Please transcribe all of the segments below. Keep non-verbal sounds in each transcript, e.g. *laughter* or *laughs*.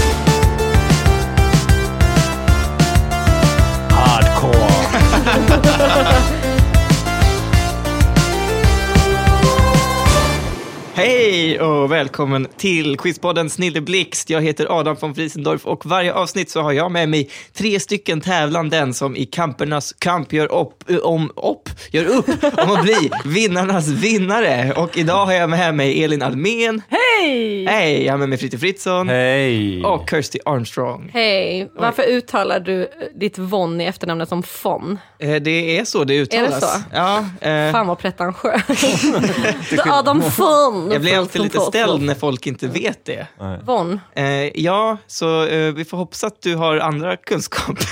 *laughs* Hej och välkommen till Quizpodden Snilleblixt. Jag heter Adam von Friesendorf och varje avsnitt så har jag med mig tre stycken tävlanden som i kampernas kamp gör upp, ö, om, upp, gör upp om att bli vinnarnas vinnare. Och idag har jag med mig Elin Almen. Hej! Hej! Jag har med mig Fritte Fritzson Hej! och Kirsty Armstrong. Hej! Varför uttalar du eh, ditt von i efternamnet som von? Eh, Det är så det uttalas. så? Ja, eh, Fan vad *laughs* pretentiöst. Du Adam von! jag blir alltid lite ställd när folk inte vet det. Nej. Von. Eh, ja, så eh, vi får hoppas att du har andra kunskaper.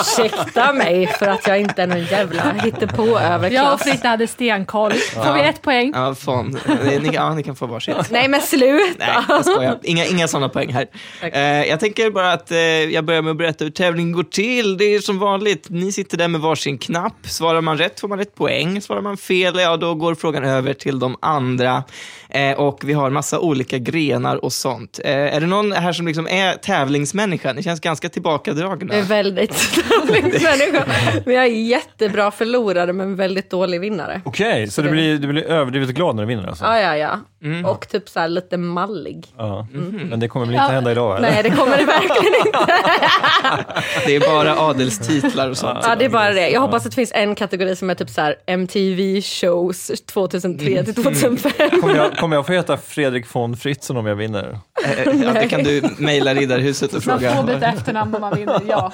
Ursäkta mig för att jag inte är någon jävla Jag och hittepå-överklass. Fritte hade stenkoll. Får vi ett poäng? Ja, fan. Eh, Ni, ja, ni kan få varsitt. Nej men sluta! Nej, jag skojar. Inga, inga sådana poäng här. Eh, jag tänker bara att eh, jag börjar med att berätta hur tävlingen går till. Det är som vanligt, ni sitter där med varsin knapp. Svarar man rätt får man ett poäng. Svarar man fel, ja då går frågan över till de andra. Eh, och vi har massa olika grenar och sånt. Eh, är det någon här som liksom är tävlingsmänniska? Ni känns ganska tillbakadragna. Jag är väldigt *laughs* dålig människa. Men jag är jättebra förlorare men väldigt dålig vinnare. Okej, så du blir, du blir överdrivet glad när du vinner alltså? Ja, ja, ja. Och typ så här lite mallig. Ja. Mhm. Men det kommer väl inte hända idag? Eller? Nej, det kommer det verkligen inte. Det är bara adelstitlar och sånt. Ja, det är bara det. Jag hoppas att det finns en kategori som är typ så här MTV shows 2003 till 2005. Kommer, jag, kommer jag få heta Fredrik von Fritzen om jag vinner? Eh, ja, det kan du mejla Riddarhuset och Man får fråga. byta efternamn om man vinner, ja.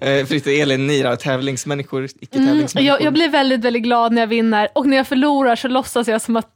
Eh, Fritte och Elin, ni då? Tävlingsmänniskor, Mm, icke-tävlingsmänniskor? jag, jag blir väldigt, väldigt glad när jag vinner och när jag förlorar så låtsas jag som att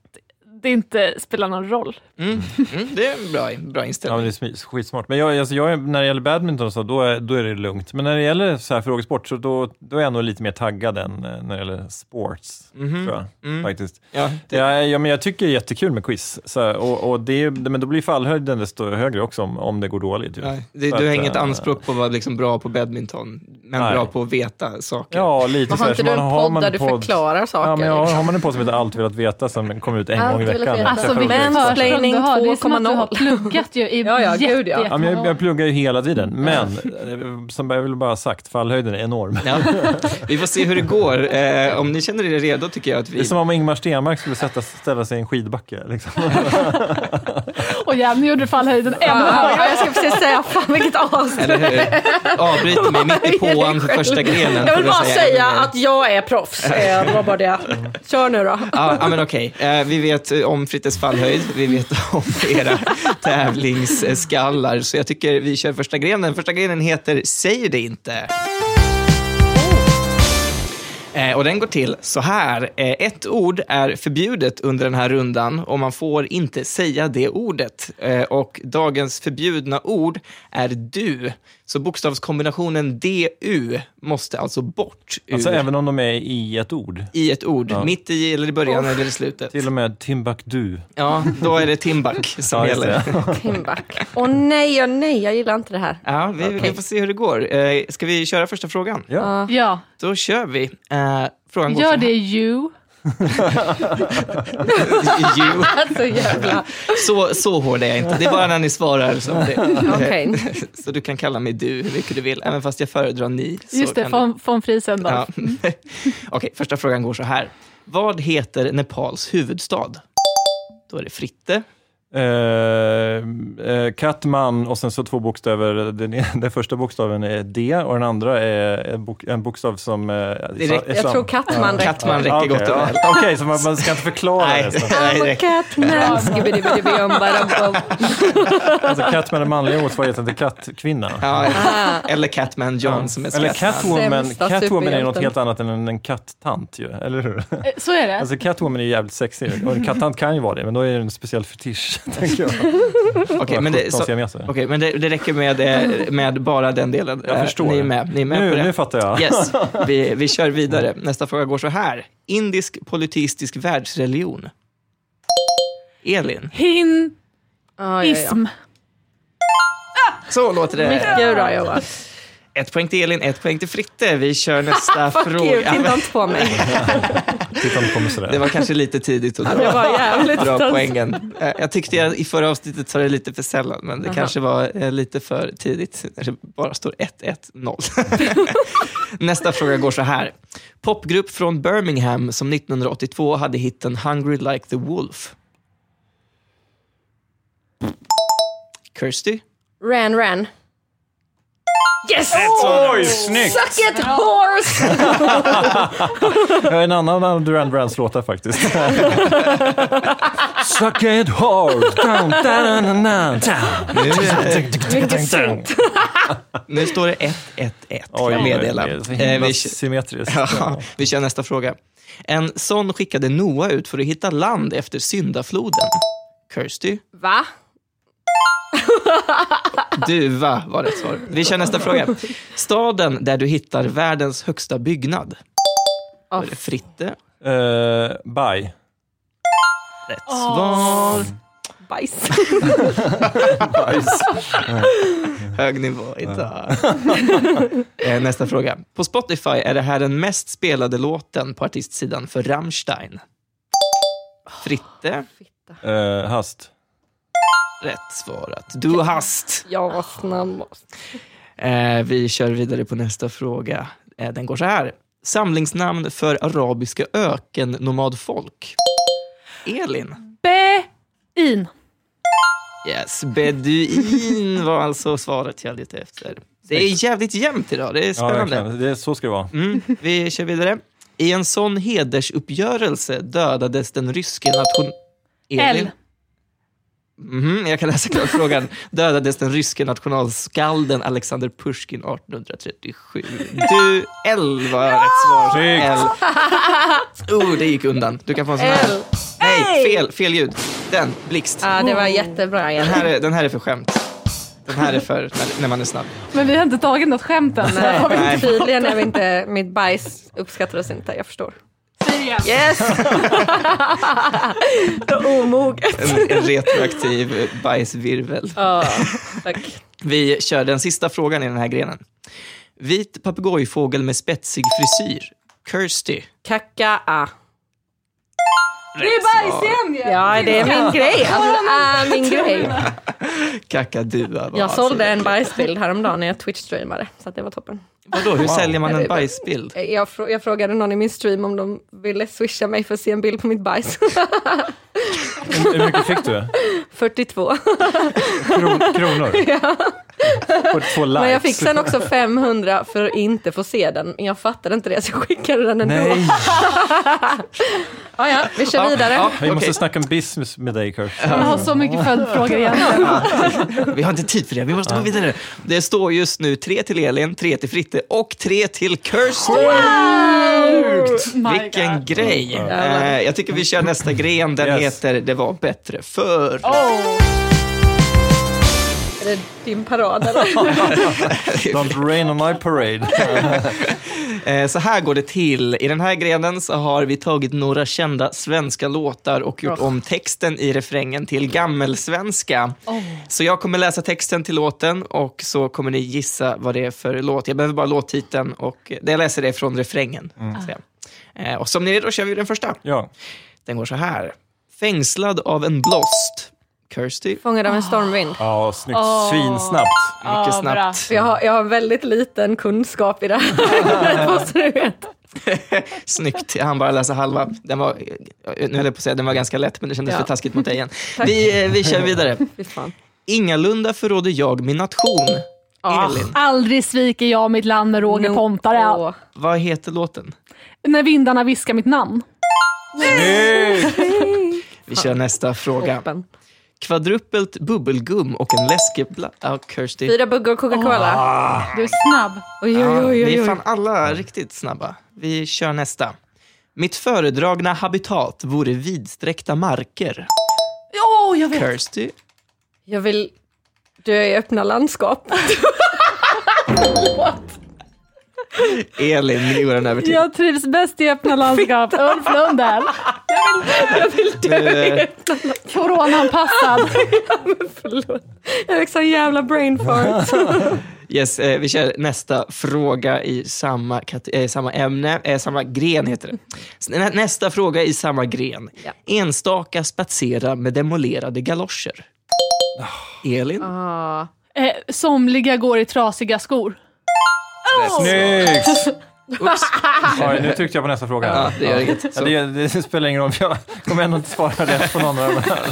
det inte spelar någon roll. Mm, mm, det är en bra, Ja, bra men inställning. det är smi- skitsmart. Men jag, alltså, jag är, när det gäller badminton och så, då är, då är det lugnt. Men när det gäller så här frågesport, så då, då är jag nog lite mer taggad än eh, när det gäller sports, Mhm. tror jag. Mm. Faktiskt. Ja, det, Ja, ja, men jag tycker det är jättekul med quiz, så här, och, och det, är- men då blir fallhöjden desto högre också om, om det går dåligt. Ju. ja, det, Så att, du har inget eh, anspråk på att vara liksom bra på badminton, men Nej. bra på att veta saker. Ja, lite Men så har här, inte så du en man- har podd man där du podd- förklarar saker? Ja, men jag, har man en podd som heter Allt vill att veta som kommer ut en Allt gång i vill att veckan. efter veta. Alltså Alltså, förra vilken vilken veckan. försprång försprång du har, det är som att du 2,0. har pluggat ju i Ja, ja, jätte, gud, ja. Ja, men jag, jättemånga år. jag pluggar ju hela tiden, men eh, som jag vill bara ha sagt, fallhöjden är enorm. Ja. Vi får se hur det går. Eh, om ni känner er redo tycker jag att Det är vi... som om Ingmar Stenmark skulle sätta, ställa sig i en skidbacke. Liksom. Och ja, nu gjorde du fallhöjden ännu Ja, högre. ja, jag ska precis säga, fan vilket avsnitt. Eller hur? Avbryter mig *laughs* mitt i påan för första grenen. Jag för vill att bara säga ännu mer. att jag är proffs. Eh, Det var bara det. Kör nu då. Ja, ja, men okej. Eh, Vi vet eh, om Frittes fallhöjd, vi vet *laughs* om era tävlingsskallar, så jag tycker vi kör första grenen. Första grenen heter Säg det inte. Eh, Och den går till så här. Eh, Ett ord är förbjudet under den här rundan och man får inte säga det ordet. Eh, Och dagens förbjudna ord är du. Så bokstavskombinationen DU måste alltså bort ur, Alltså, även om de är i ett ord. i ett ord. Ja. Mitt i, eller i början, eller i slutet. Till och med Timbuktu. Ja, då är det Timbuk *laughs* som Ja, just gäller. det. Timback. Åh nej, åh nej, jag gillar inte det här. Ja, vi, vi Okej. får se hur det går. Eh, ska vi köra första frågan? Ja. Ja, Då kör vi. Eh, frågan går gör så det *laughs* ju. här. You. Alltså jävla... Så, så hård är jag inte. Det är bara när ni svarar som *laughs* det. Okej. *laughs* Så du kan kalla mig du hur mycket du vill, även fast jag föredrar ni. Så Just det, kan du- von, von Friesen då. Ja. *laughs* Okej, första frågan går så här. Vad heter Nepals huvudstad? Då är det Fritte. Eh, eh, Kattman och sen så två bokstäver. Den, e- *laughs* den första bokstaven är D och den andra är en, bok, en bokstav som... eh, är räcker. sam- är Jag sam- tror Kattman räcker. Kattman räcker Okej, gott och ja. väl. Okej, så man, man ska inte förklara Nej, det. nej, I'm a det- Catman. Skibidi-bidi-bum-bada-bum. Alltså Catman är manliga motsvarigheten till kattkvinna. Ja, *laughs* Ah, eller Catman John som är Eller Catman. Catwoman, Sämsta Catwoman är något superhjälten. helt annat än en en kattant ju, eller hur? Eh, Så är det. Alltså Catwoman är ju jävligt sexig och en kattant kan ju vara det, men då är det en speciell fetisch, *laughs* tänker jag. Okej, men det, så, så, Okej, men det, det räcker med, eh, med bara den delen. Jag Eh, förstår. Ni är med, ni är med på nu, det. nu fattar jag. *laughs* Yes, vi, vi kör vidare. Nästa fråga går så här. Indisk politistisk världsreligion. Elin. Hinism. Ja, ja, ja. Så låter det. Mycket bra jobbat. Ett poäng till Elin, ett poäng till Fritte. Vi kör nästa *laughs* Fuck you, fråga. titta inte på mig. Tittarna kommer sådär. Det var kanske lite tidigt att Jag dra, var jävligt dra stolt. poängen. Eh, Jag tyckte jag i förra avsnittet sa det lite för sällan, men det Aha. kanske var eh, lite för tidigt när det bara står 1-1-0. *laughs* Nästa fråga går så här. Popgrupp från Birmingham som 1982 hade hitten Hungry Like the Wolf. Kirsty? Ran, ran. Yes! Oj, snyggt! Suck it horse! Jag har en annan av Duran Brands låtar faktiskt. *laughs* Suck it hard! Down, down, down, down, Nu, eh, Vilket down. synt. nu står det 1-1-1, jag meddelar. det är så Eh, himla vi- symmetriskt. *laughs* Ja, vi kör nästa fråga. En sån skickade Noa ut för att hitta land efter syndafloden. Kirsty? Va? Duva var rätt svar. Vi kör nästa fråga. Staden där du hittar världens högsta byggnad. Då är det Fritte. Eh, bye. Rätt svar. Bajs. *laughs* Hög nivå idag. Eh, Nästa fråga. På Spotify är det här den mest spelade låten på artistsidan för Rammstein. Fritte. Eh, hast. Rätt svarat. Du hast. Jag var snabb. Eh, vi kör vidare på nästa fråga. Eh, den går så här. Samlingsnamn för arabiska ökennomadfolk. Elin. Bein. Yes, beduin var alltså svaret jag letade efter. Det är jävligt jämnt idag, det är Ja, spännande. verkligen. det, är- så ska det vara. Mm, vi kör vidare. I en sån hedersuppgörelse dödades den ryske nation... L. Mhm, jag kan läsa klart frågan. Dödades den ryske nationalskalden Alexander Pushkin 1837? Du, L var rätt svar. Snyggt. L. Oh, det gick undan. Du kan få en sån här. L. Nej, fel, fel ljud. Den, blixt. Ja, det var jättebra. Den Jenny. *laughs* här, är, den här är för skämt. Den här är för när, när man är snabb. Men vi har inte tagit något skämt än. Nej, vi inte Tydligen är vi inte, mitt bajs uppskattades inte, jag förstår. Säg igen. *laughs* Yes! Omoget. En, en retroaktiv eh, bajsvirvel. Ja, tack. Vi kör den sista frågan i den här grenen. Vit papegojfågel med spetsig frisyr. Kirsty. Kaka. ah. Det är bajs igen ju. Ja, det är min grej. Alltså, det är min grej. Kakadua var Jag sålde en alltså- bajsbild häromdagen när jag Twitch-streamade, så att det var toppen. Vadå, hur säljer man Nej, en det- bajsbild? Eh, Jag, frå- jag frågade någon i min stream om de ville swisha mig för att se en bild på mitt bajs. *laughs* Hur hur mycket fick du? 42. Kron, *laughs* kronor? På två likes? Men jag fick sen också 500 för att inte få se den. Men Jag fattade inte det så jag skickade den ändå. Nej, Ja, ja, vi kör vidare. Ja, vi måste okej. snacka om business med dig Kurt. Jag har så mycket följdfrågor igen. Vi har inte tid för det, vi måste gå vidare. Det står just nu tre till Elin, tre till Fritte och tre till Kirsty. Oh My Vilken God. grej! Eh, jag tycker vi kör nästa gren, den Yes. heter Det var bättre förr. Är det din parad eller? *laughs* Don't rain on my parade. *laughs* Eh, Så här går det till. I den här grenen så har vi tagit några kända svenska låtar och gjort Oh. om texten i refrängen till gammelsvenska. Oh. Så jag kommer läsa texten till låten och så kommer ni gissa vad det är för låt. Jag behöver bara låttiteln och eh, jag läser det från refrängen. Så, eh, Och som ni är redo kör vi den första. Ja. Den går så här. Fängslad av en blåst. Kirsty, Fångad av en stormvind. ja, snyggt. Svinsnabbt. mycket Ah, bra. snabbt. För Jag har, jag har väldigt liten kunskap i det här. *laughs* måste du veta. Snyggt, han bara läsa halva. Den var, eh, nu höll jag på att säga den var ganska lätt, men det kändes Ja. för taskigt mot dig *laughs* igen. Vi, eh, vi kör vidare. Fy fan. Ingalunda förråder jag min nation. Ah. Elin, Aldrig sviker jag mitt land med Roger Pontare. Åh. vad heter låten? När vindarna viskar mitt namn. Snyggt! Vi *laughs* kör nästa fråga. Toppen. Kvadrupelt bubbelgum och en läskebla... Ja, Kirsty. Fyra buggar och Coca-Cola. Du är snabb. Oj, oj, Ja, oj, vi oj, är oj. fan alla riktigt snabba. Vi kör nästa. Mitt föredragna habitat vore vidsträckta marker. Åh, Ah. jag vet. Kirsty. Jag vill dö i öppna landskap. Elin, nu går den över till Jag trivs bäst i öppna landskap. Ulf Lundell. Nu, eh, Coronaanpassad. *laughs* Förlåt. Jag fick sån jävla brain fart. Yes, eh, vi kör nästa fråga i samma, kat- eh, samma ämne, eh, samma gren heter det. S- nä- Nästa fråga i samma gren. Ja. Enstaka spatserar med demolerade galoscher. Elin? Ah. Eh, somliga går i trasiga skor. Snyggt! *laughs* Oops. Oj, nu tryckte jag på nästa fråga. Ja, det gör inget. Ja, Så. det, det spelar ingen roll, för jag kommer ändå inte svara rätt på någon av de här.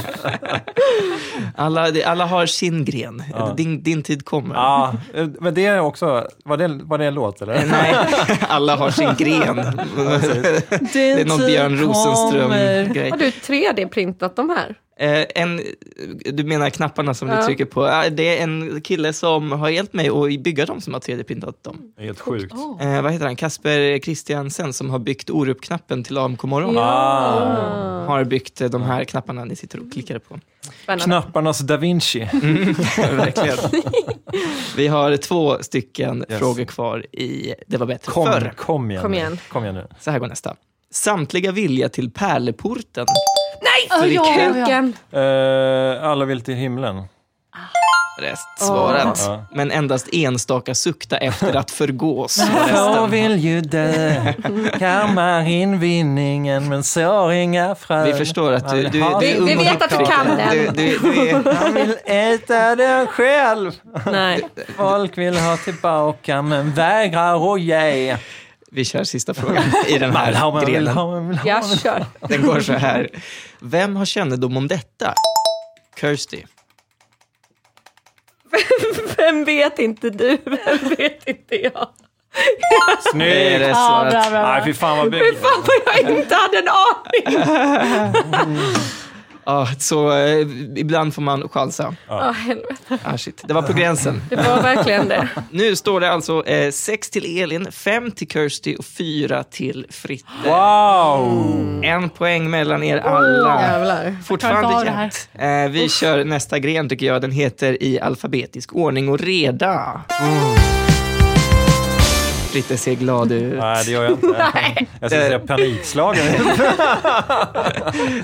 Alla, det- alla har sin gren. Ja. Ah. Din, din tid kommer. Ja, eh, men det är också, var det, var det en låt eller? Nej, *laughs* alla har sin gren. *laughs* det är typ någon Björn Rosenström-grej. Har du 3D-printat de här? Eh, en, du menar knapparna som du Ja. trycker på. Ah, Det är en kille som har hjälpt mig att bygga dem som har 3D-printat dem. Det är Helt sjukt. Oh. Oh. Eh, vad heter han? Kasper Christiansen som har byggt Orup-knappen till AMK morgon. Ah. Har byggt eh, de här knapparna ni sitter och klickar *laughs* på. Spännande. Knapparnas da Vinci. *laughs* Verkligen. Vi har två stycken Yes. frågor kvar i Det var bättre Kom, förr. kom igen. Kom nu. igen. Kom igen nu. Så här går nästa. Samtliga vilja till Pärleporten. Ah, ja, ja, ja. Kuken! Eh, alla vill till himlen. Rätt svarat. Ja. Men endast enstaka sukta efter att förgås. *laughs* var Så resten. vill ju dö, kammar in vinningen men sår inga frön. Vi förstår att du, du, du är Vi- ung vi och vet att du hip-hop. kan den. Du, du, du är, Han vill äta den själv. Nej. Folk vill ha tillbaka men vägrar att ge. vi kör sista frågan i den *laughs* Man vill ha, man här vill grenen. ha, man vill ha. Jag kör. *laughs* Den går så här. Vem har kännedom om detta? Kirsty. Vem vet inte du? Vem vet inte jag? Det är Snyggt! rätt Ja, bra, svarat. bra, Nej, bra. fy fan vad Fy bygg. fan vad jag inte hade en aning! Ja, så eh, ibland får man chansa. Ah, helvete. Ah, shit. Det var på gränsen. Det var verkligen det. Nu står det alltså 6 till Elin, 5 till Kirsty och 4 till Fritte. Mm. Wow! En poäng mellan er Ah. alla. Jävlar. Jag Fortfarande klarar av jämnt. Eh, vi kör nästa gren tycker jag. Den heter i alfabetisk ordning och reda. Fritte ser glad ut. Nej, det gör jag inte. Jag skulle säga panikslagen.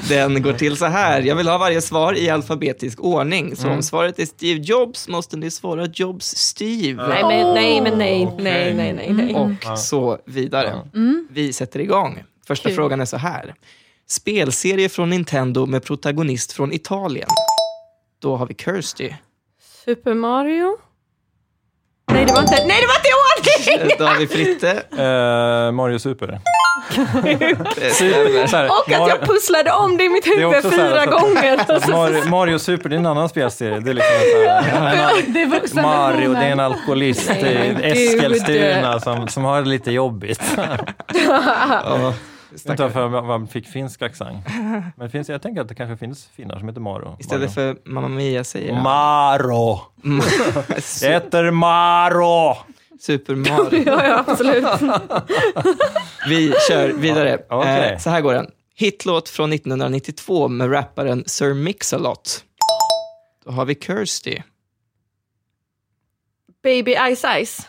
Den går till så här. Jag vill ha varje svar i alfabetisk ordning. Så om svaret är Steve Jobs måste ni svara Jobs Steve. Nej men nej, men nej, nej, nej, nej, Mm. nej. Och så vidare. Vi sätter igång. Första Kul. frågan är så här. Spelserie från Nintendo med protagonist från Italien. Då har vi Kirsty. Super Mario? Nej det var inte, nej det var inte i ordning! Eh, Då har vi Fritte. Eh, Mario Super. Det stämmer. Så här, Och att Mario- jag pusslade om det i mitt huvud också så här, fyra alltså. gånger. Och så, Mario, Mario Super, det är en annan spelserie. Det är liksom så här, Det är vuxna Mario, det versionen. är en alkoholist i men Eskilstuna som, som har det lite *laughs* jobbigt. Ja, Jag vet stackare. inte varför man fick finsk accent. Men det finns, jag tänker att det kanske finns finnar som heter Maro. Istället för Mamma Mia säger jag. Maro! Jag heter Maro! *laughs* Super Mario. ja, ja, absolut. Vi kör vidare. *laughs* Ja, okej. Eh, Så här går den. Hitlåt från 1992 med rapparen Sir Mix-a-Lot. Då har vi Kirsty. *laughs* Baby Ice Ice.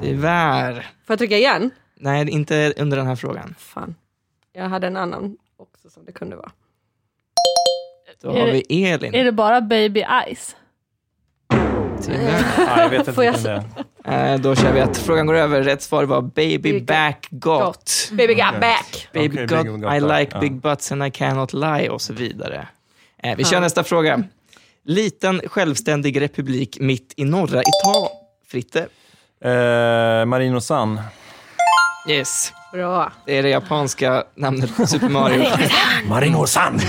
Tyvärr. Får jag trycka igen? Nej, inte under den här frågan. Fan. Jag hade en annan också som det kunde vara. Då Är har det- vi Elin. Är det bara baby ice? Tyvärr. Nej, jag vet inte Får jag vilken det är. Eh, Då kör vi att frågan går över. Rätt svar var Baby Baby Back Got. Baby Got Back. Baby Okej, got, Baby Got I Back, like ja. big butts and I cannot lie och så vidare. Eh, Vi kör nästa fråga. Liten självständig republik mitt i norra Italien. Fritte. Eh, Marino San. Yes. Bra. Det är det japanska namnet på Super *laughs* Mario. Marino *laughs* San.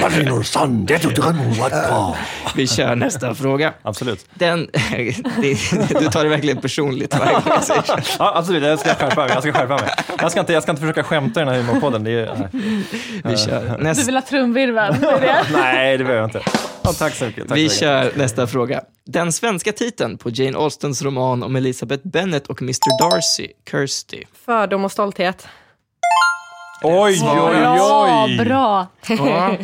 Marino San, det är drömmen vad bra. Vi kör nästa fråga. Absolut. Den, *laughs* det- du tar det verkligen personligt varje gång jag säger så. Ja, absolut, jag ska skärpa mig. Jag ska, skärpa mig. Jag ska, inte, jag ska inte försöka skämta i den här humorpodden. Det är, nej. Vi kör Du nästa. vill ha trumvirvel? Det är det. *laughs* nej, det behöver jag inte. Ja, tack så mycket. Tack Vi så mycket. kör nästa fråga. Den svenska titeln på Jane Austens roman om Elizabeth Bennet och Mr Darcy, Kirsty. Fördom och stolthet. Oj, oj, Bra, oj! bra. Ja,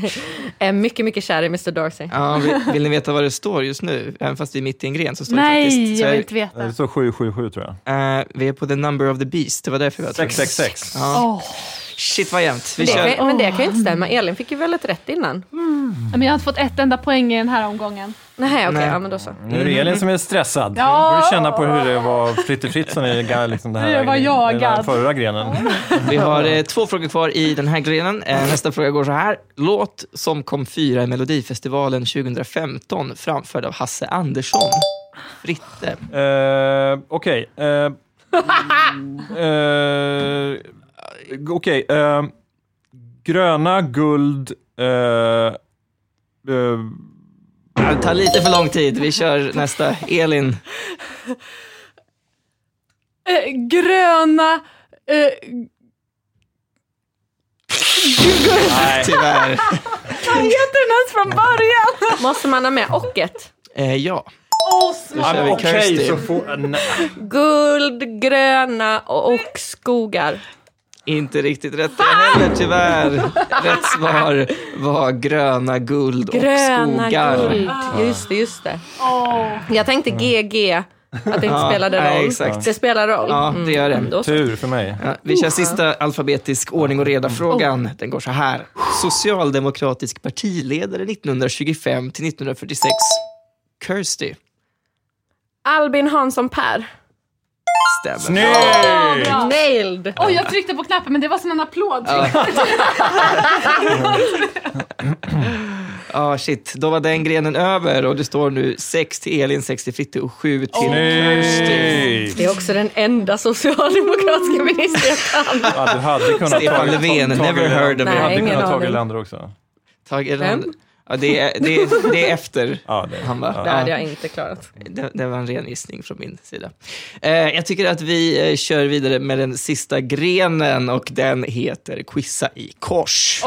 Är mycket, mycket kär i Mr Darcy. ja, vill, vill ni veta vad det står just nu? Även fast vi är mitt i en gren så står det Nej, faktiskt... så jag är- vill inte Det veta. står 777 tror jag. eh, vi är på the number of the beast, det var därför jag tror. 666. Ja. Åh, Shit vad jämnt. Vi Men det, kör. kan, men det kan ju inte stämma. Elin fick ju väldigt rätt innan. Men jag har inte fått ett enda poäng i den här omgången. Nej, okej. Nej. Ja, men då så. Nu är det Elin som är stressad. Ja. Ja. borde känna på hur det var Fritte Fritzson i ga- liksom det här, Jag var den jagad. förra grenen. Vi har eh, två frågor kvar i den här grenen. Eh, nästa fråga går så här. Låt som kom fyra i Melodifestivalen 2015 framförd av Hasse Andersson. Fritte. Eh, Okej. eh, eh, Okej. eh, gröna, guld... eh, eh, Det tar lite för lång tid. Vi kör nästa. Elin. Eh, gröna... Eh, Tyvärr. jag heter den ens från *laughs* början? Måste man ha med ocket? Eh, ja. Åh, smart. kör vi Okej, Kirsty. så får... nej. Guld, gröna och, och skogar. Inte riktigt rätt det heller tyvärr. Rätt svar var gröna guld och Gröna skogar. Mm. guld. Just det, just det. Jag tänkte GG, att det inte spelade roll. nej, exakt. Det spelar roll. Ja, det gör det. Då så. Tur för mig. Ja, vi kör sista alfabetisk ordning och reda-frågan. Den går så här. Socialdemokratisk partiledare 1925 till 1946. Kirsty. Albin Hansson Per. Stämmer. Snyggt! Ja. Nailed! Oj, jag tryckte på knappen men det var som en applåd. Ja, ah, shit. Då var den grenen över och det står nu 6 till Elin, 6 till Fritte och 7 till Kirsty. Snyggt! Det är också den enda socialdemokratiska ministern jag kan. Ja, du hade kunnat Stefan ta- ta- Löfven, ta- ta- never heard of Du him. Nej, hade ingen kunnat ta aning. Erlander också. Tag Erland. Vem? Ja, det, är, det, är, det är efter. Ja, det. Han bara, Det ja. hade jag inte *laughs* klarat. Det, det var en ren gissning från min sida. Eh, jag tycker att vi eh, kör vidare med den sista grenen och den heter Quizza i kors.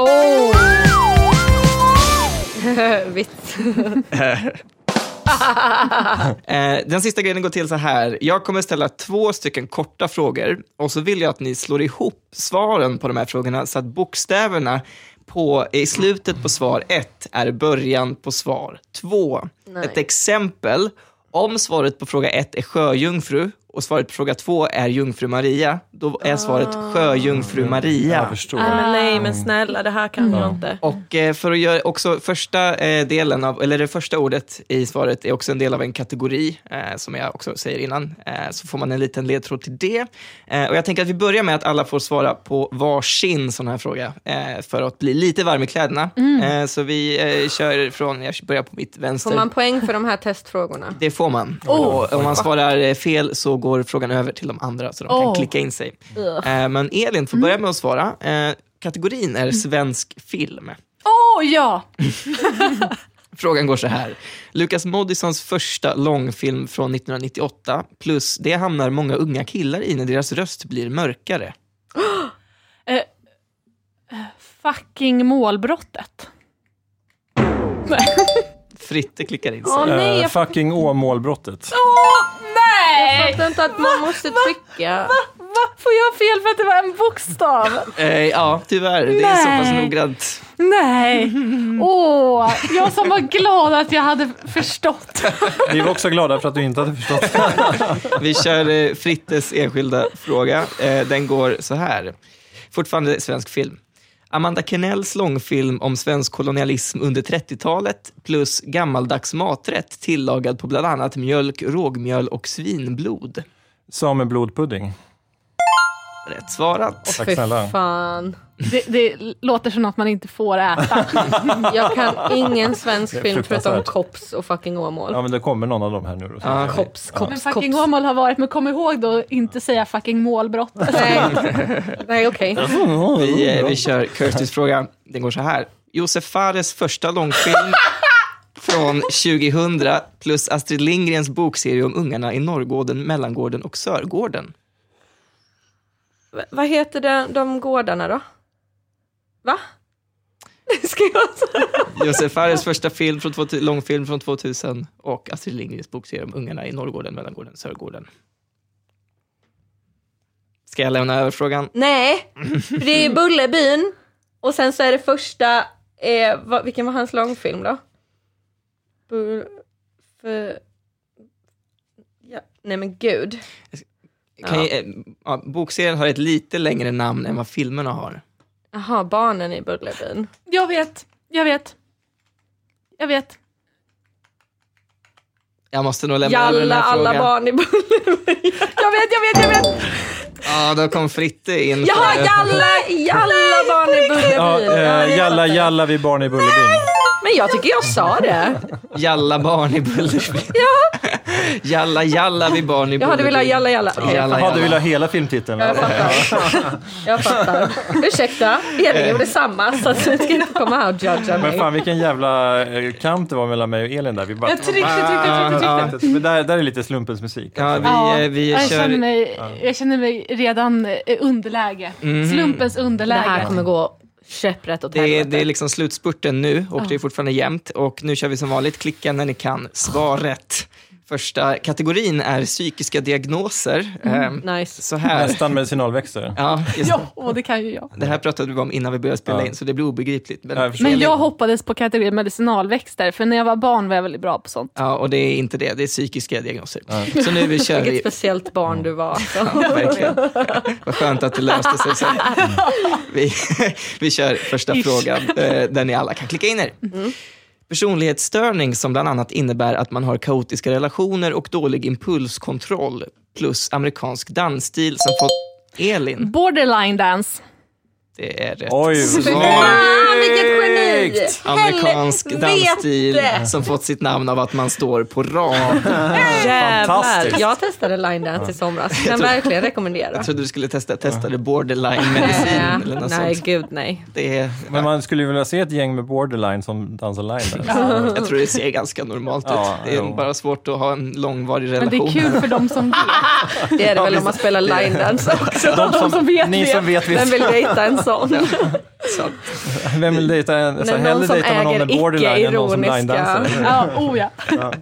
Vitt. Eh, den sista grenen går till så här. Jag kommer ställa två stycken korta frågor och så vill jag att ni slår ihop svaren på de här frågorna så att bokstäverna på, i slutet på svar 1 är början på svar 2. Nej. Ett exempel. Om svaret på fråga 1 är sjöjungfru och svaret på fråga 2 är jungfru Maria, då är svaret sjöjungfru Maria. Mm, Jag förstår. Nej, men nej, men snälla, det här kan jag inte. Och eh, för att göra också första eh, delen av, eller det första ordet i svaret är också en del av en kategori, eh, som jag också säger innan, eh, så får man en liten ledtråd till det. Eh, och jag tänker att vi börjar med att alla får svara på varsin sån här fråga, eh, för att bli lite varm i kläderna. Eh, så vi eh, kör från, jag börjar på mitt vänster. Mm. Får man poäng för de här testfrågorna? Det får man. Och om man svarar eh, fel så går frågan över till de andra så de kan Oh. klicka in sig. Eh, Men Elin får Mm. börja med att svara. Eh, Kategorin är svensk film. *laughs* Åh ja! *laughs* Frågan går så här. Lukas Moodysons första långfilm från 1998 plus det hamnar många unga killar i när deras röst blir mörkare. Fucking målbrottet. Fritte klickar in sig. Åh nej, Eh, jag fucking Åmålbrottet. Nej! fattar inte att man måste trycka. Va? Får jag fel för att det var en bokstav? Eh, ja, tyvärr. Det är så pass Nej. noggrant. Nej. *laughs* Åh, jag som var glad att jag hade förstått. Vi var också glada för att du inte hade förstått. Vi kör eh, Frittes enskilda fråga. Eh, den går så här. Fortfarande svensk film. Amanda Kennells långfilm om svensk kolonialism under 30-talet plus gammaldags maträtt tillagad på bland annat mjölk, rågmjöl och svinblod. Sameblodpudding. Rätt svarat. Tack Fy snälla. fan. Det, det låter som något man inte får *laughs* äta. Jag kan ingen svensk är film förutom fruktansvärt. Kops och fucking Åmål. Ja, men det kommer någon av dem här nu. Då. Ja. Kops, Men Kops, fucking Kops. Åmål har varit, men kom ihåg då inte säga fucking målbrottet. Nej, nej okej. Vi, eh, vi kör Curtis fråga. Den går så här. Josef Fares första *laughs* långfilm från 2000 plus Astrid Lindgrens bokserie om ungarna i Norrgården, Mellangården och Sörgården. V- Vad heter de, de gårdarna då? Va? *laughs* Ska jag säga? Josef Fares första film från 2000, långfilm från 2000 och Astrid Lindgrens bokserie om ungarna i Norrgården, Mellangården, Sörgården. Ska jag lämna över frågan? Nej, för det är Bullerbyn och sen så är det första, eh, vad, vilken var hans långfilm då? Bull, för, ja, nej men gud. Kan jag, eh, ja, bokserien har ett lite längre namn än vad filmerna har. Jaha, barnen i Bullerbyn. Jag vet, jag vet. Jag vet. Jag måste nog lämna över den Jalla här alla frågan. barn i Bullerbyn. Jag vet, jag vet, jag vet! Ja, då kom Fritte in. *laughs* Jaha, Eh, jalla, jalla barn i Ja, Bullerbyn. eh, jalla, jalla, vi barn i Bullerbyn. Men jag tycker jag sa *laughs* det. Jalla barn i Bullersby. Jalla, jalla vi barn i Bullersby. Jag hade velat jalla jalla. Okej, jag Jalla, Jaha, jalla. du vill ha hela filmtiteln? Jag fattar. Jag fattar. Ursäkta, Elin gjorde samma så att du ska inte komma här och judga Men mig. fan vilken jävla eh, kamp det var mellan mig och Elin där. Vi bara... Jag tryckte, tryckte, tryckte, tryckte. Men där, där är lite slumpens musik. Ja, vi, Ja, eh, vi jag, känner kör... mig, jag känner mig redan eh, underläge. Mhm. Slumpens Det underläge. här kommer gå käpprätt åt Det är, det är helvete. liksom slutspurten nu och det är fortfarande jämnt. Och nu kör vi som vanligt, klicka när ni kan svaret. Första kategorin är psykiska diagnoser. Ehm, Mm, Nice. Så här. Nästan medicinalväxter. Ja, just, Ja, och det kan ju jag. Det här pratade vi om innan vi började spela Ja. in, så det blir obegripligt. Men, Ja, jag förstår. Men jag hoppades på kategorin medicinalväxter, för när jag var barn var jag väldigt bra på sånt. Ja, och det är inte det. Det är psykiska diagnoser. Så nu vi *laughs* kör Vilket vi. speciellt barn du var. alltså. Verkligen. *laughs* Vad skönt att det löste sig sen. Vi, vi kör första Ish. frågan eh, där ni alla kan klicka in er. Personlighetsstörning som bland annat innebär att man har kaotiska relationer och dålig impulskontroll plus amerikansk dansstil som fått Elin. Borderline dance. Det är rätt. Oj, svar. Fan, vilket geni! Amerikansk Helvete! dansstil som fått sitt namn av att man står på rad. Jävlar. Fantastiskt. Jag testade line dance i somras. Kan verkligen rekommendera. Jag trodde du skulle testa, testa det borderline-medicin eller något Nej, sånt. gud nej. Det är, Men man skulle ju vilja se ett gäng med borderline som dansar line där. Jag tror det ser ganska normalt Ja, ut. Det är jo. bara svårt att ha en långvarig Men det relation. är kul för *laughs* dem som vet. Det är det väl om man spelar line dance också. De *laughs* De som vet, ni vet. som vet, Vem vet. vill dejta en sån? Sant. Vem vill dejta en? Så någon Alltså, hellre som dejtar man någon äger med borderline än någon som icke-ironiska- line-dansar. Ja, oh ja.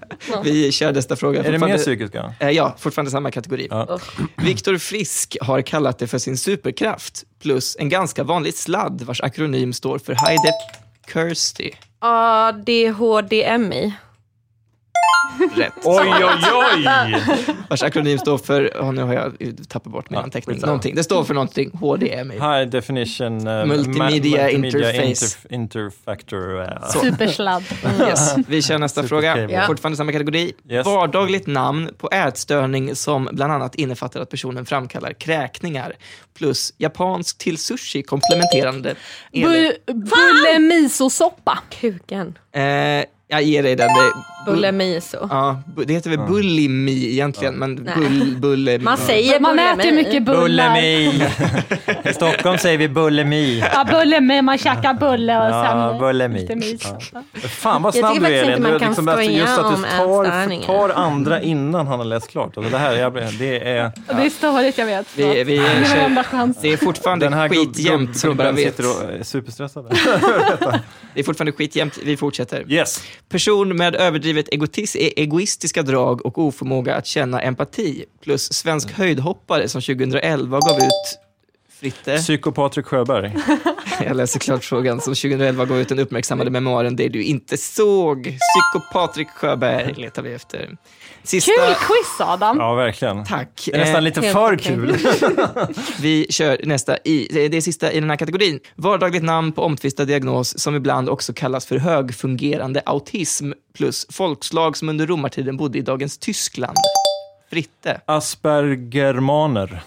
Vi kör nästa fråga. Är det mer Fortfarande- psykiska? Eh, Ja, fortfarande samma kategori. Ja. Viktor Frisk har kallat det för sin superkraft plus en ganska vanlig sladd vars akronym står för High Def Kirsty. *laughs* ADHDMI. Rätt. Oj, oj, oj! Vars akronym står för, oh, nu har jag tappat bort min Ja, anteckning, skitsamma. någonting. det står för någonting, HDMI. High definition... eh, ma- Multimedia interface. interf- interfactor. eh, Supersladd. Yes. Vi *laughs* kör nästa fråga. Supercable. Ja. Fortfarande samma kategori. Yes. Vardagligt namn på ätstörning som bland annat innefattar att personen framkallar kräkningar plus japansk till sushi komplementerande. Är det- Bu- Bulle-misosoppa. Kuken. Eh, jag ger dig den. Det, Bulimi så. ja, bu- det heter väl bulimi egentligen, men bull, bullemi. Mm. Man säger Man bulimi. äter ju mycket bullar. Bullemi! *laughs* I Stockholm säger vi bullemi. Ja, bullemi, man käkar bulle och sen Ja, bullemi. lite mys. Ja. Fan vad Jag snabb tycker du är Elin. faktiskt inte Du man är kan liksom bäst- skoja just att om du tar, ätstörningar. tar andra innan han har läst klart. Alltså det här, jag, det är... Det är störigt, jag vet. Vi, vi, Det är kör, *laughs* varenda chans. det är fortfarande Den här gubb- skitjämnt, så du bara gubben vet. sitter och är superstressad. Det är fortfarande skitjämnt. Vi fortsätter. Yes. Person med överdrivet egotis- e- egoistiska drag och oförmåga att känna empati. Plus Mm. svensk höjdhoppare som 2011 gav ut Eh. Fritte, Psykopatrik Sjöberg. *laughs* jag läser klart frågan, som 2011 gav ut den uppmärksammade memoaren Det du inte såg. Psykopatrik Sjöberg letar vi efter. Sista... Kul quiz, Adam. Ja, verkligen. Tack. Det är nästan Eh, lite helt för okej. kul. Vi kör nästa. I, det är det sista i den här kategorin. Vardagligt namn på omtvistad diagnos som ibland också kallas för högfungerande autism plus folkslag som under romartiden bodde i dagens Tyskland. Fritte. Aspergermaner.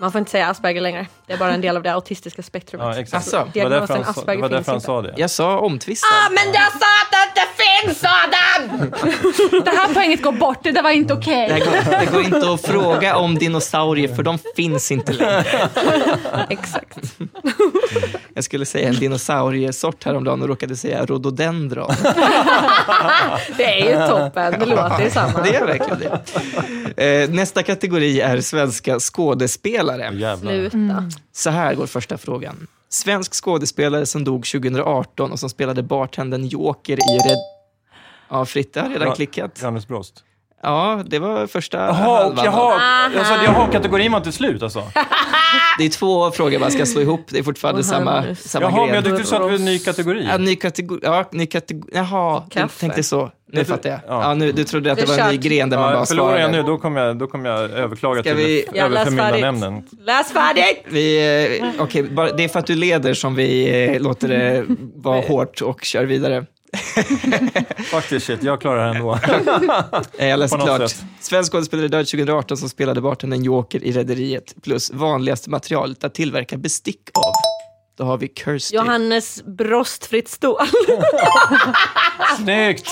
Man får inte säga Asperger längre. Det är bara en del av det autistiska spektrumet. Ja, exakt. Alltså, det var därför diagnosen han, sa- det var Asperger därför han finns inte. sa det. Jag sa omtvistad. Ah, men jag sa att det inte finns *laughs* Adam! Det här poänget går bort, det där var inte okej. Det, här går, det går inte att fråga om dinosaurier för de finns inte längre. Exakt. Jag skulle säga en dinosauriesort häromdagen och råkade säga rhododendron. Det är ju toppen. Det låter ju samma. Det är verkligen det. Eh, nästa kategori är svenska skådespelare. Jävlar. Sluta. Mm. Så här går första frågan. Svensk skådespelare som dog 2018 och som spelade bartendern Joker i Red... Ja, Fritte har redan Ja. klickat. Johannes Brost. Ja, det var första Jaha, och halvan. jaha, Aha. alltså, jaha, kategorin var inte slut alltså? Det är två frågor man ska slå ihop. Det är fortfarande Åh, samma, herregud. samma Jaha, men gren. jag tyckte du sa att det var en ny kategori. Ja, ny kategori. Ja, ny kategori. Jaha, du Kaffe. tänkte så. Nu Jag tror- fattar jag. ja. Ja. nu, du trodde att det Det är var en ny kört. gren där man Ja, bara förlorar jag svarade. nu, då kommer jag, då kommer jag överklaga Ska till vi- vi... Jag läser överförmyndarnämnden. Läs färdigt! Vi, eh, okej, bara- det är för att du leder som vi eh, låter *laughs* det vara hårt och kör vidare. Faktiskt shit, jag klarar det *laughs* ändå. Eh, Jag läser På något klart. sätt. Svensk skådespelare död 2018 som spelade bartendern Joker i Rederiet plus vanligaste materialet att tillverka bestick av. Då har vi Kirsty. Johannes Brostfritt Stål. *laughs* Snyggt!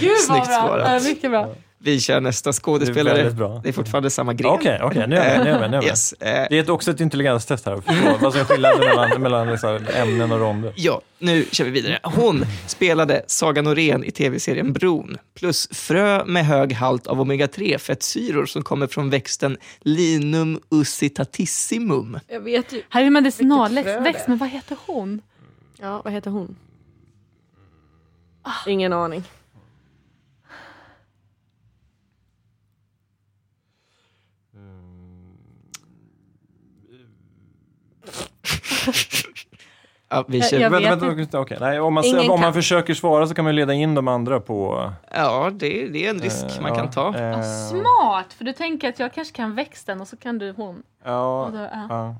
Gud vad Snyggt bra. svarat. Ja, mycket bra. Vi kör nästa skådespelare. Det Det är är, väldigt bra. fortfarande samma gren. Okej, okej, nu är jag med, nu är jag med, nu är jag med. Yes. Eh, Det är ett, också ett intelligenstest här, att förstå vad som är skillnaden mellan, mellan liksom, ämnen och ronder. Ja, nu kör vi vidare. Hon spelade Saga Norén i tv-serien Bron, plus frö med hög halt av omega-3 fettsyror som kommer från växten Linum uscitatissimum. Jag vet ju. Här är Vilket frö ju medicinalväxt, det är. men vad heter hon? Ja, vad heter hon? Ah. Ingen aning. Ja, vi kör. Jag vet Vänta, vänta, vänta, okej. Nej, om, man, Ingen om man kan. försöker svara så kan man ju leda in de andra på... ja det, det är en risk eh, man ja, kan ta. eh, Vad smart! För du tänker att jag kanske kan växten och så kan du hon. ja, Och då, ja. ja.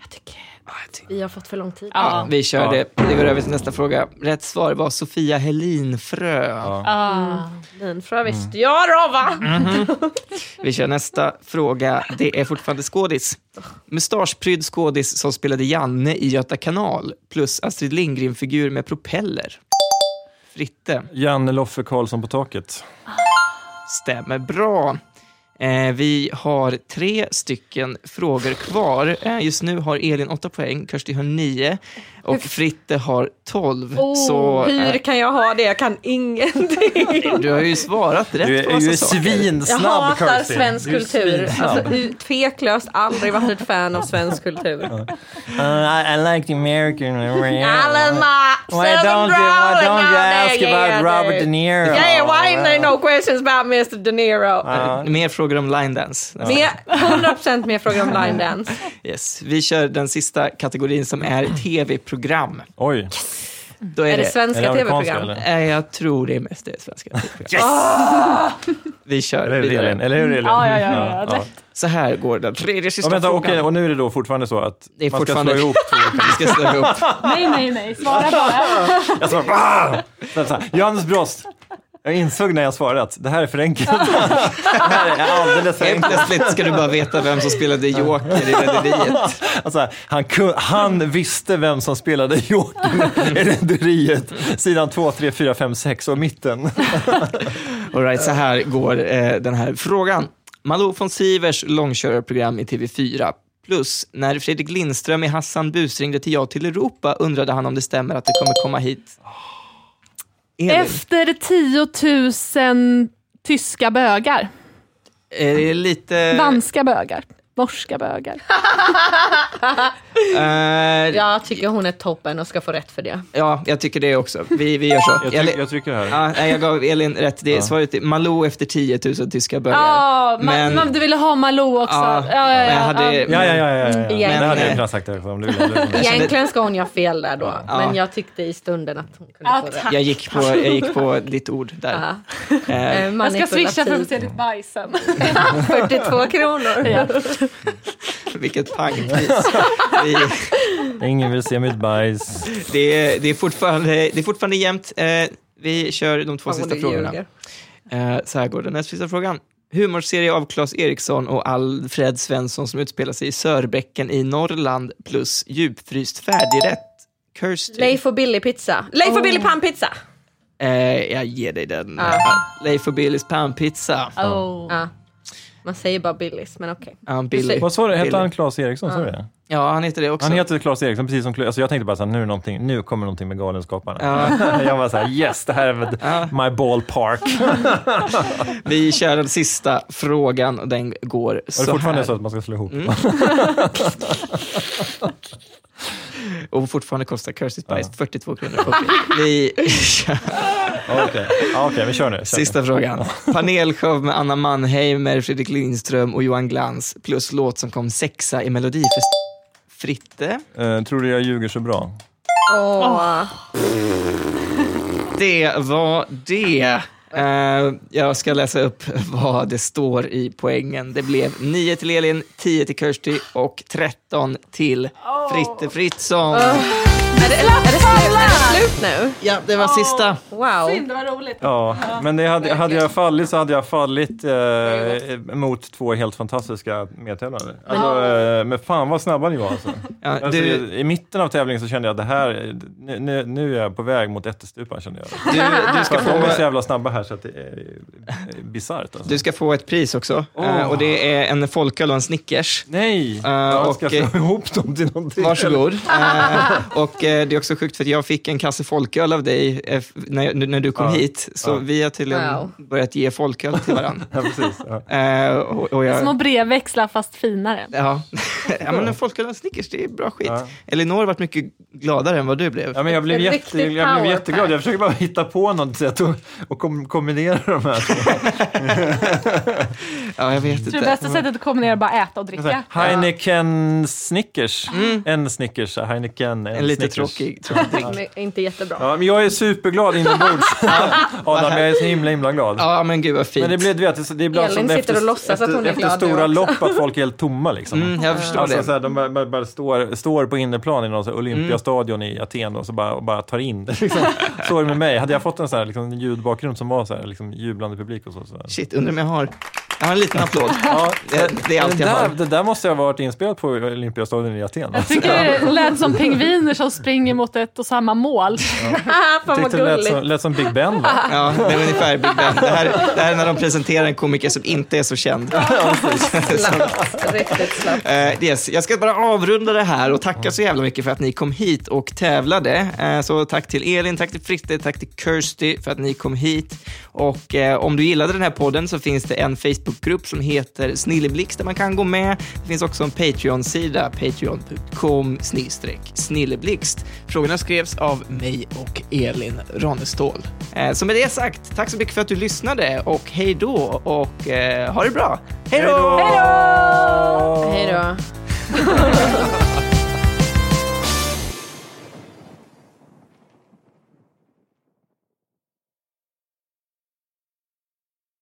Jag tycker Ah, vi har fått för lång Ah. tid. Ja, Ja. vi kör Ja. det. Vi går över till nästa fråga. Rätt svar var Sofia Helinfrö. Ah. Linfrö visste Mm. jag då va? Vi kör nästa fråga. Det är fortfarande skådis. Mustaschprydd skådis som spelade Janne i Göta kanal plus Astrid Lindgren-figur med propeller. Fritte. Janne Loffe Karlsson på taket. Stämmer bra. Eh, vi har tre stycken frågor kvar. Eh, just nu har Elin åtta poäng, Kersti har nio och Fritte har tolv. Oh, så eh, Hur kan jag ha det? Jag kan *laughs* *laughs* ingenting. du har ju svarat rätt Du på är, massa ju saker. Jag svinsnabb, hatar Kirsty. svensk Du är kultur. svinsnabb. Alltså, u- tveklöst aldrig varit ett fan av svensk kultur. Uh, I, I like the American. *laughs* Alma, Why don't you, why don't you ask about Robert De Niro? Yeah, why ain't there no questions about Mr De Niro? Ja. Mer frågor om line dance. Mer, 100% mer frågor om line dance. Yes. Vi kör den sista kategorin som är tv-program. Oj, Då är, Är det Mm. är svenska det amerikanska tv-program? eller? Nej, jag tror det är mest det *laughs* svenska tv-program. Vi kör Eller hur Elin? vidare. Eller hur Elin? Ja, ja, ja, ja, lätt. Så här går den tredje Ja, sista vänta, frågan. okej, och nu är det då fortfarande så att Det är man ska slå fortfarande- ihop två olika- Vi ska slå *laughs* ihop. Nej, nej, nej. *laughs* Svara bara. Jag svarar "Ah!" så här, så här, Johannes Brost. Jag insåg när jag svarade att det här är för enkelt. *laughs* det här är alldeles för Helt enkelt. plötsligt ska du bara veta vem som spelade Joker i Rederiet. Alltså, han, kun, han visste vem som spelade Joker i Rederiet. Sidan 2, 3, 4, 5, 6 och mitten. All right, så här går eh, den här frågan. Malou von Sivers långkörarprogram i TV4. Plus, när Fredrik Lindström i Hassan Bus ringde till Ja till Europa undrade han om det stämmer att det kommer komma hit. Elin, Efter 10 000 tyska bögar. är det lite... Danska bögar. Norska bögar. Eh, Jag tycker hon är toppen och ska få rätt för det. Ja, jag tycker det också. Vi, vi gör så. Jag, Eli- tryck, jag trycker här. ja, nej, jag gav Elin rätt. Det är svaret är Malou efter 10 000 tyska bögar. Ja, ma- Men- ma- du ville ha Malou också. Ja, Ja, ja, ja, men jag hade- ja. Ja, ja, ja. ja, ja. Egentligen. Det hade jag kunnat sagt också om du ville. Egentligen ska hon göra fel där då, Ja. men jag tyckte i stunden att hon kunde Ja, få tack. rätt. Jag, gick på, jag gick på ditt ord där. Eh, Eh, Jag ska swisha för att manipulativ. se ditt bajs sen. *laughs* 42 kronor. vilket pangpris. Vi, Ingen vill se mitt bajs. det, är, det, är fortfarande, det är fortfarande jämnt. Eh, vi kör de två Fan, sista hon frågorna. ljuger. Eh, så här går den näst sista frågan. Humorserie av Claes Eriksson och Alfred Svensson som utspelar sig i Sörbäcken i Norrland plus djupfryst färdigrätt. Kirsty. Leif och Billy pizza. Leif och Billy pannpizza! Eh, jag ger dig den. Ja. Leif och Billys panpizza. Oh. Ja. Man säger bara Billys, men okej. Ja, Billy. Precis. Vad sa du, hette Billy. han Claes Eriksson? Sa du det? Ja, han heter det också. Han heter Claes Eriksson, precis som Kla- alltså Jag tänkte bara så här, nu, är det någonting, nu kommer någonting med Galenskaparna. Ja. *laughs* jag var så här, yes, det här är väl my *laughs* ballpark. Var Vi kör den sista frågan och den går det så Mm. fortfarande här. så att man ska slå ihop? Och fortfarande kostar Curse Spice 42 kronor. Okej, Vi *laughs* kör Okej, *laughs* Ja, okej, vi kör nu. Kör nu. sista frågan. *laughs* Panelshow med Anna Mannheimer, Fredrik Lindström och Johan Glans plus låt som kom sexa i Melodifestivalen. Fritte, Eh, tror du jag ljuger så bra? Åh. det var det. Eh, jag ska läsa upp *laughs* vad det står i poängen. Det blev 9 till Elin, 10 till Kirsty och 13 till Fritte Fritzson. Är det, är, det slut, är det slut nu? Ja, det var sista. Wow. Synd, vad roligt. Ja, men det hade, hade jag fallit så hade jag fallit eh, mot två helt fantastiska medtävlande. Alltså, eh, men fan vad snabba ni var alltså. Ja, alltså du, I mitten av tävlingen så kände jag att det här, nu, nu, nu är jag på väg mot ättestupan kände jag. du, du *laughs* För ska att de är få... så jävla snabba här så att det är eh, bisarrt alltså. Du ska få ett pris också. Eh, och det är en folköl och en Snickers. Nej! Eh, och- jag ska slå ihop dem till någonting. *laughs* Varsågod. Eh, och eh, det är också sjukt för att jag fick en kasse folköl av dig eh, f- när, nu- när du kom Ja. hit. Så Ja. vi har tydligen Wow. börjat ge folköl till varandra. *laughs* Ja, precis. Ja. Eh, och, och Små jag, brevväxlar fast finare. ja. *laughs* ja, men en folköl och en Snickers, det är bra skit. Ja. Elinor har varit mycket gladare än vad du blev. Ja, men jag blev, En jätte, riktig jag blev power jätteglad. pack. Jag försöker bara hitta på något sätt och, och kom, kombinera de *laughs* här. två. Ja, jag vet Jag tror inte. det bästa sättet att kombinera är bara äta och Så här, dricka. Heineken Snickers. En Snickers, Heineken, en, Mm. En lite Snickers. tråkig, tråkig drink. Men Inte jättebra. Ja, men jag är superglad *laughs* inombords. Adam, jag är så himla, himla glad. Ja, men gud vad fint. Men det blir, du vet, det är ibland Elin som sitter efter, och låtsas att efter, hon är efter glad nu stora också. lopp att folk är helt tomma liksom. mm, jag förstår Alltså, det. så här, de bara, bara, bara står, står på inneplan i någon så här, Olympiastadion i Aten och, så bara, och bara tar in *laughs* det. Liksom. Så är det med mig. Hade jag fått en så här, liksom, ljudbakgrund som var så här, liksom, jublande publik och så. så här. Shit, undrar om jag har... Jag har en liten *laughs* applåd. Ja, Det, det är allt det, jag där, har. det där måste jag ha varit inspelat på Olympiastadion i Aten. Jag tycker det lät som pingviner som springer mot ett och samma mål. Ah, *laughs* fan vad Tyckte det lät gulligt. som, lät som Big Ben. Va? Ja, det är ungefär Big Ben. Det här, det här är när de presenterar en komiker som inte är så känd. *laughs* Slappt. Riktigt slappt. Eh, yes. Jag ska bara avrunda det här och tacka så jävla mycket för att ni kom hit och tävlade. Eh, så tack till Elin, tack till Fritte, tack till Kirsty för att ni kom hit. Och eh, om du gillade den här podden så finns det en Facebookgrupp som heter Snilleblixt där man kan gå med. Det finns också en Patreon-sida, patreon.com snedstreck snilleblixt. Frågorna skrevs av mig och Elin Ronnestål. Eh, så med det sagt, tack så mycket för att du lyssnade och hej då och eh, ha det bra. Hej då! Hej då!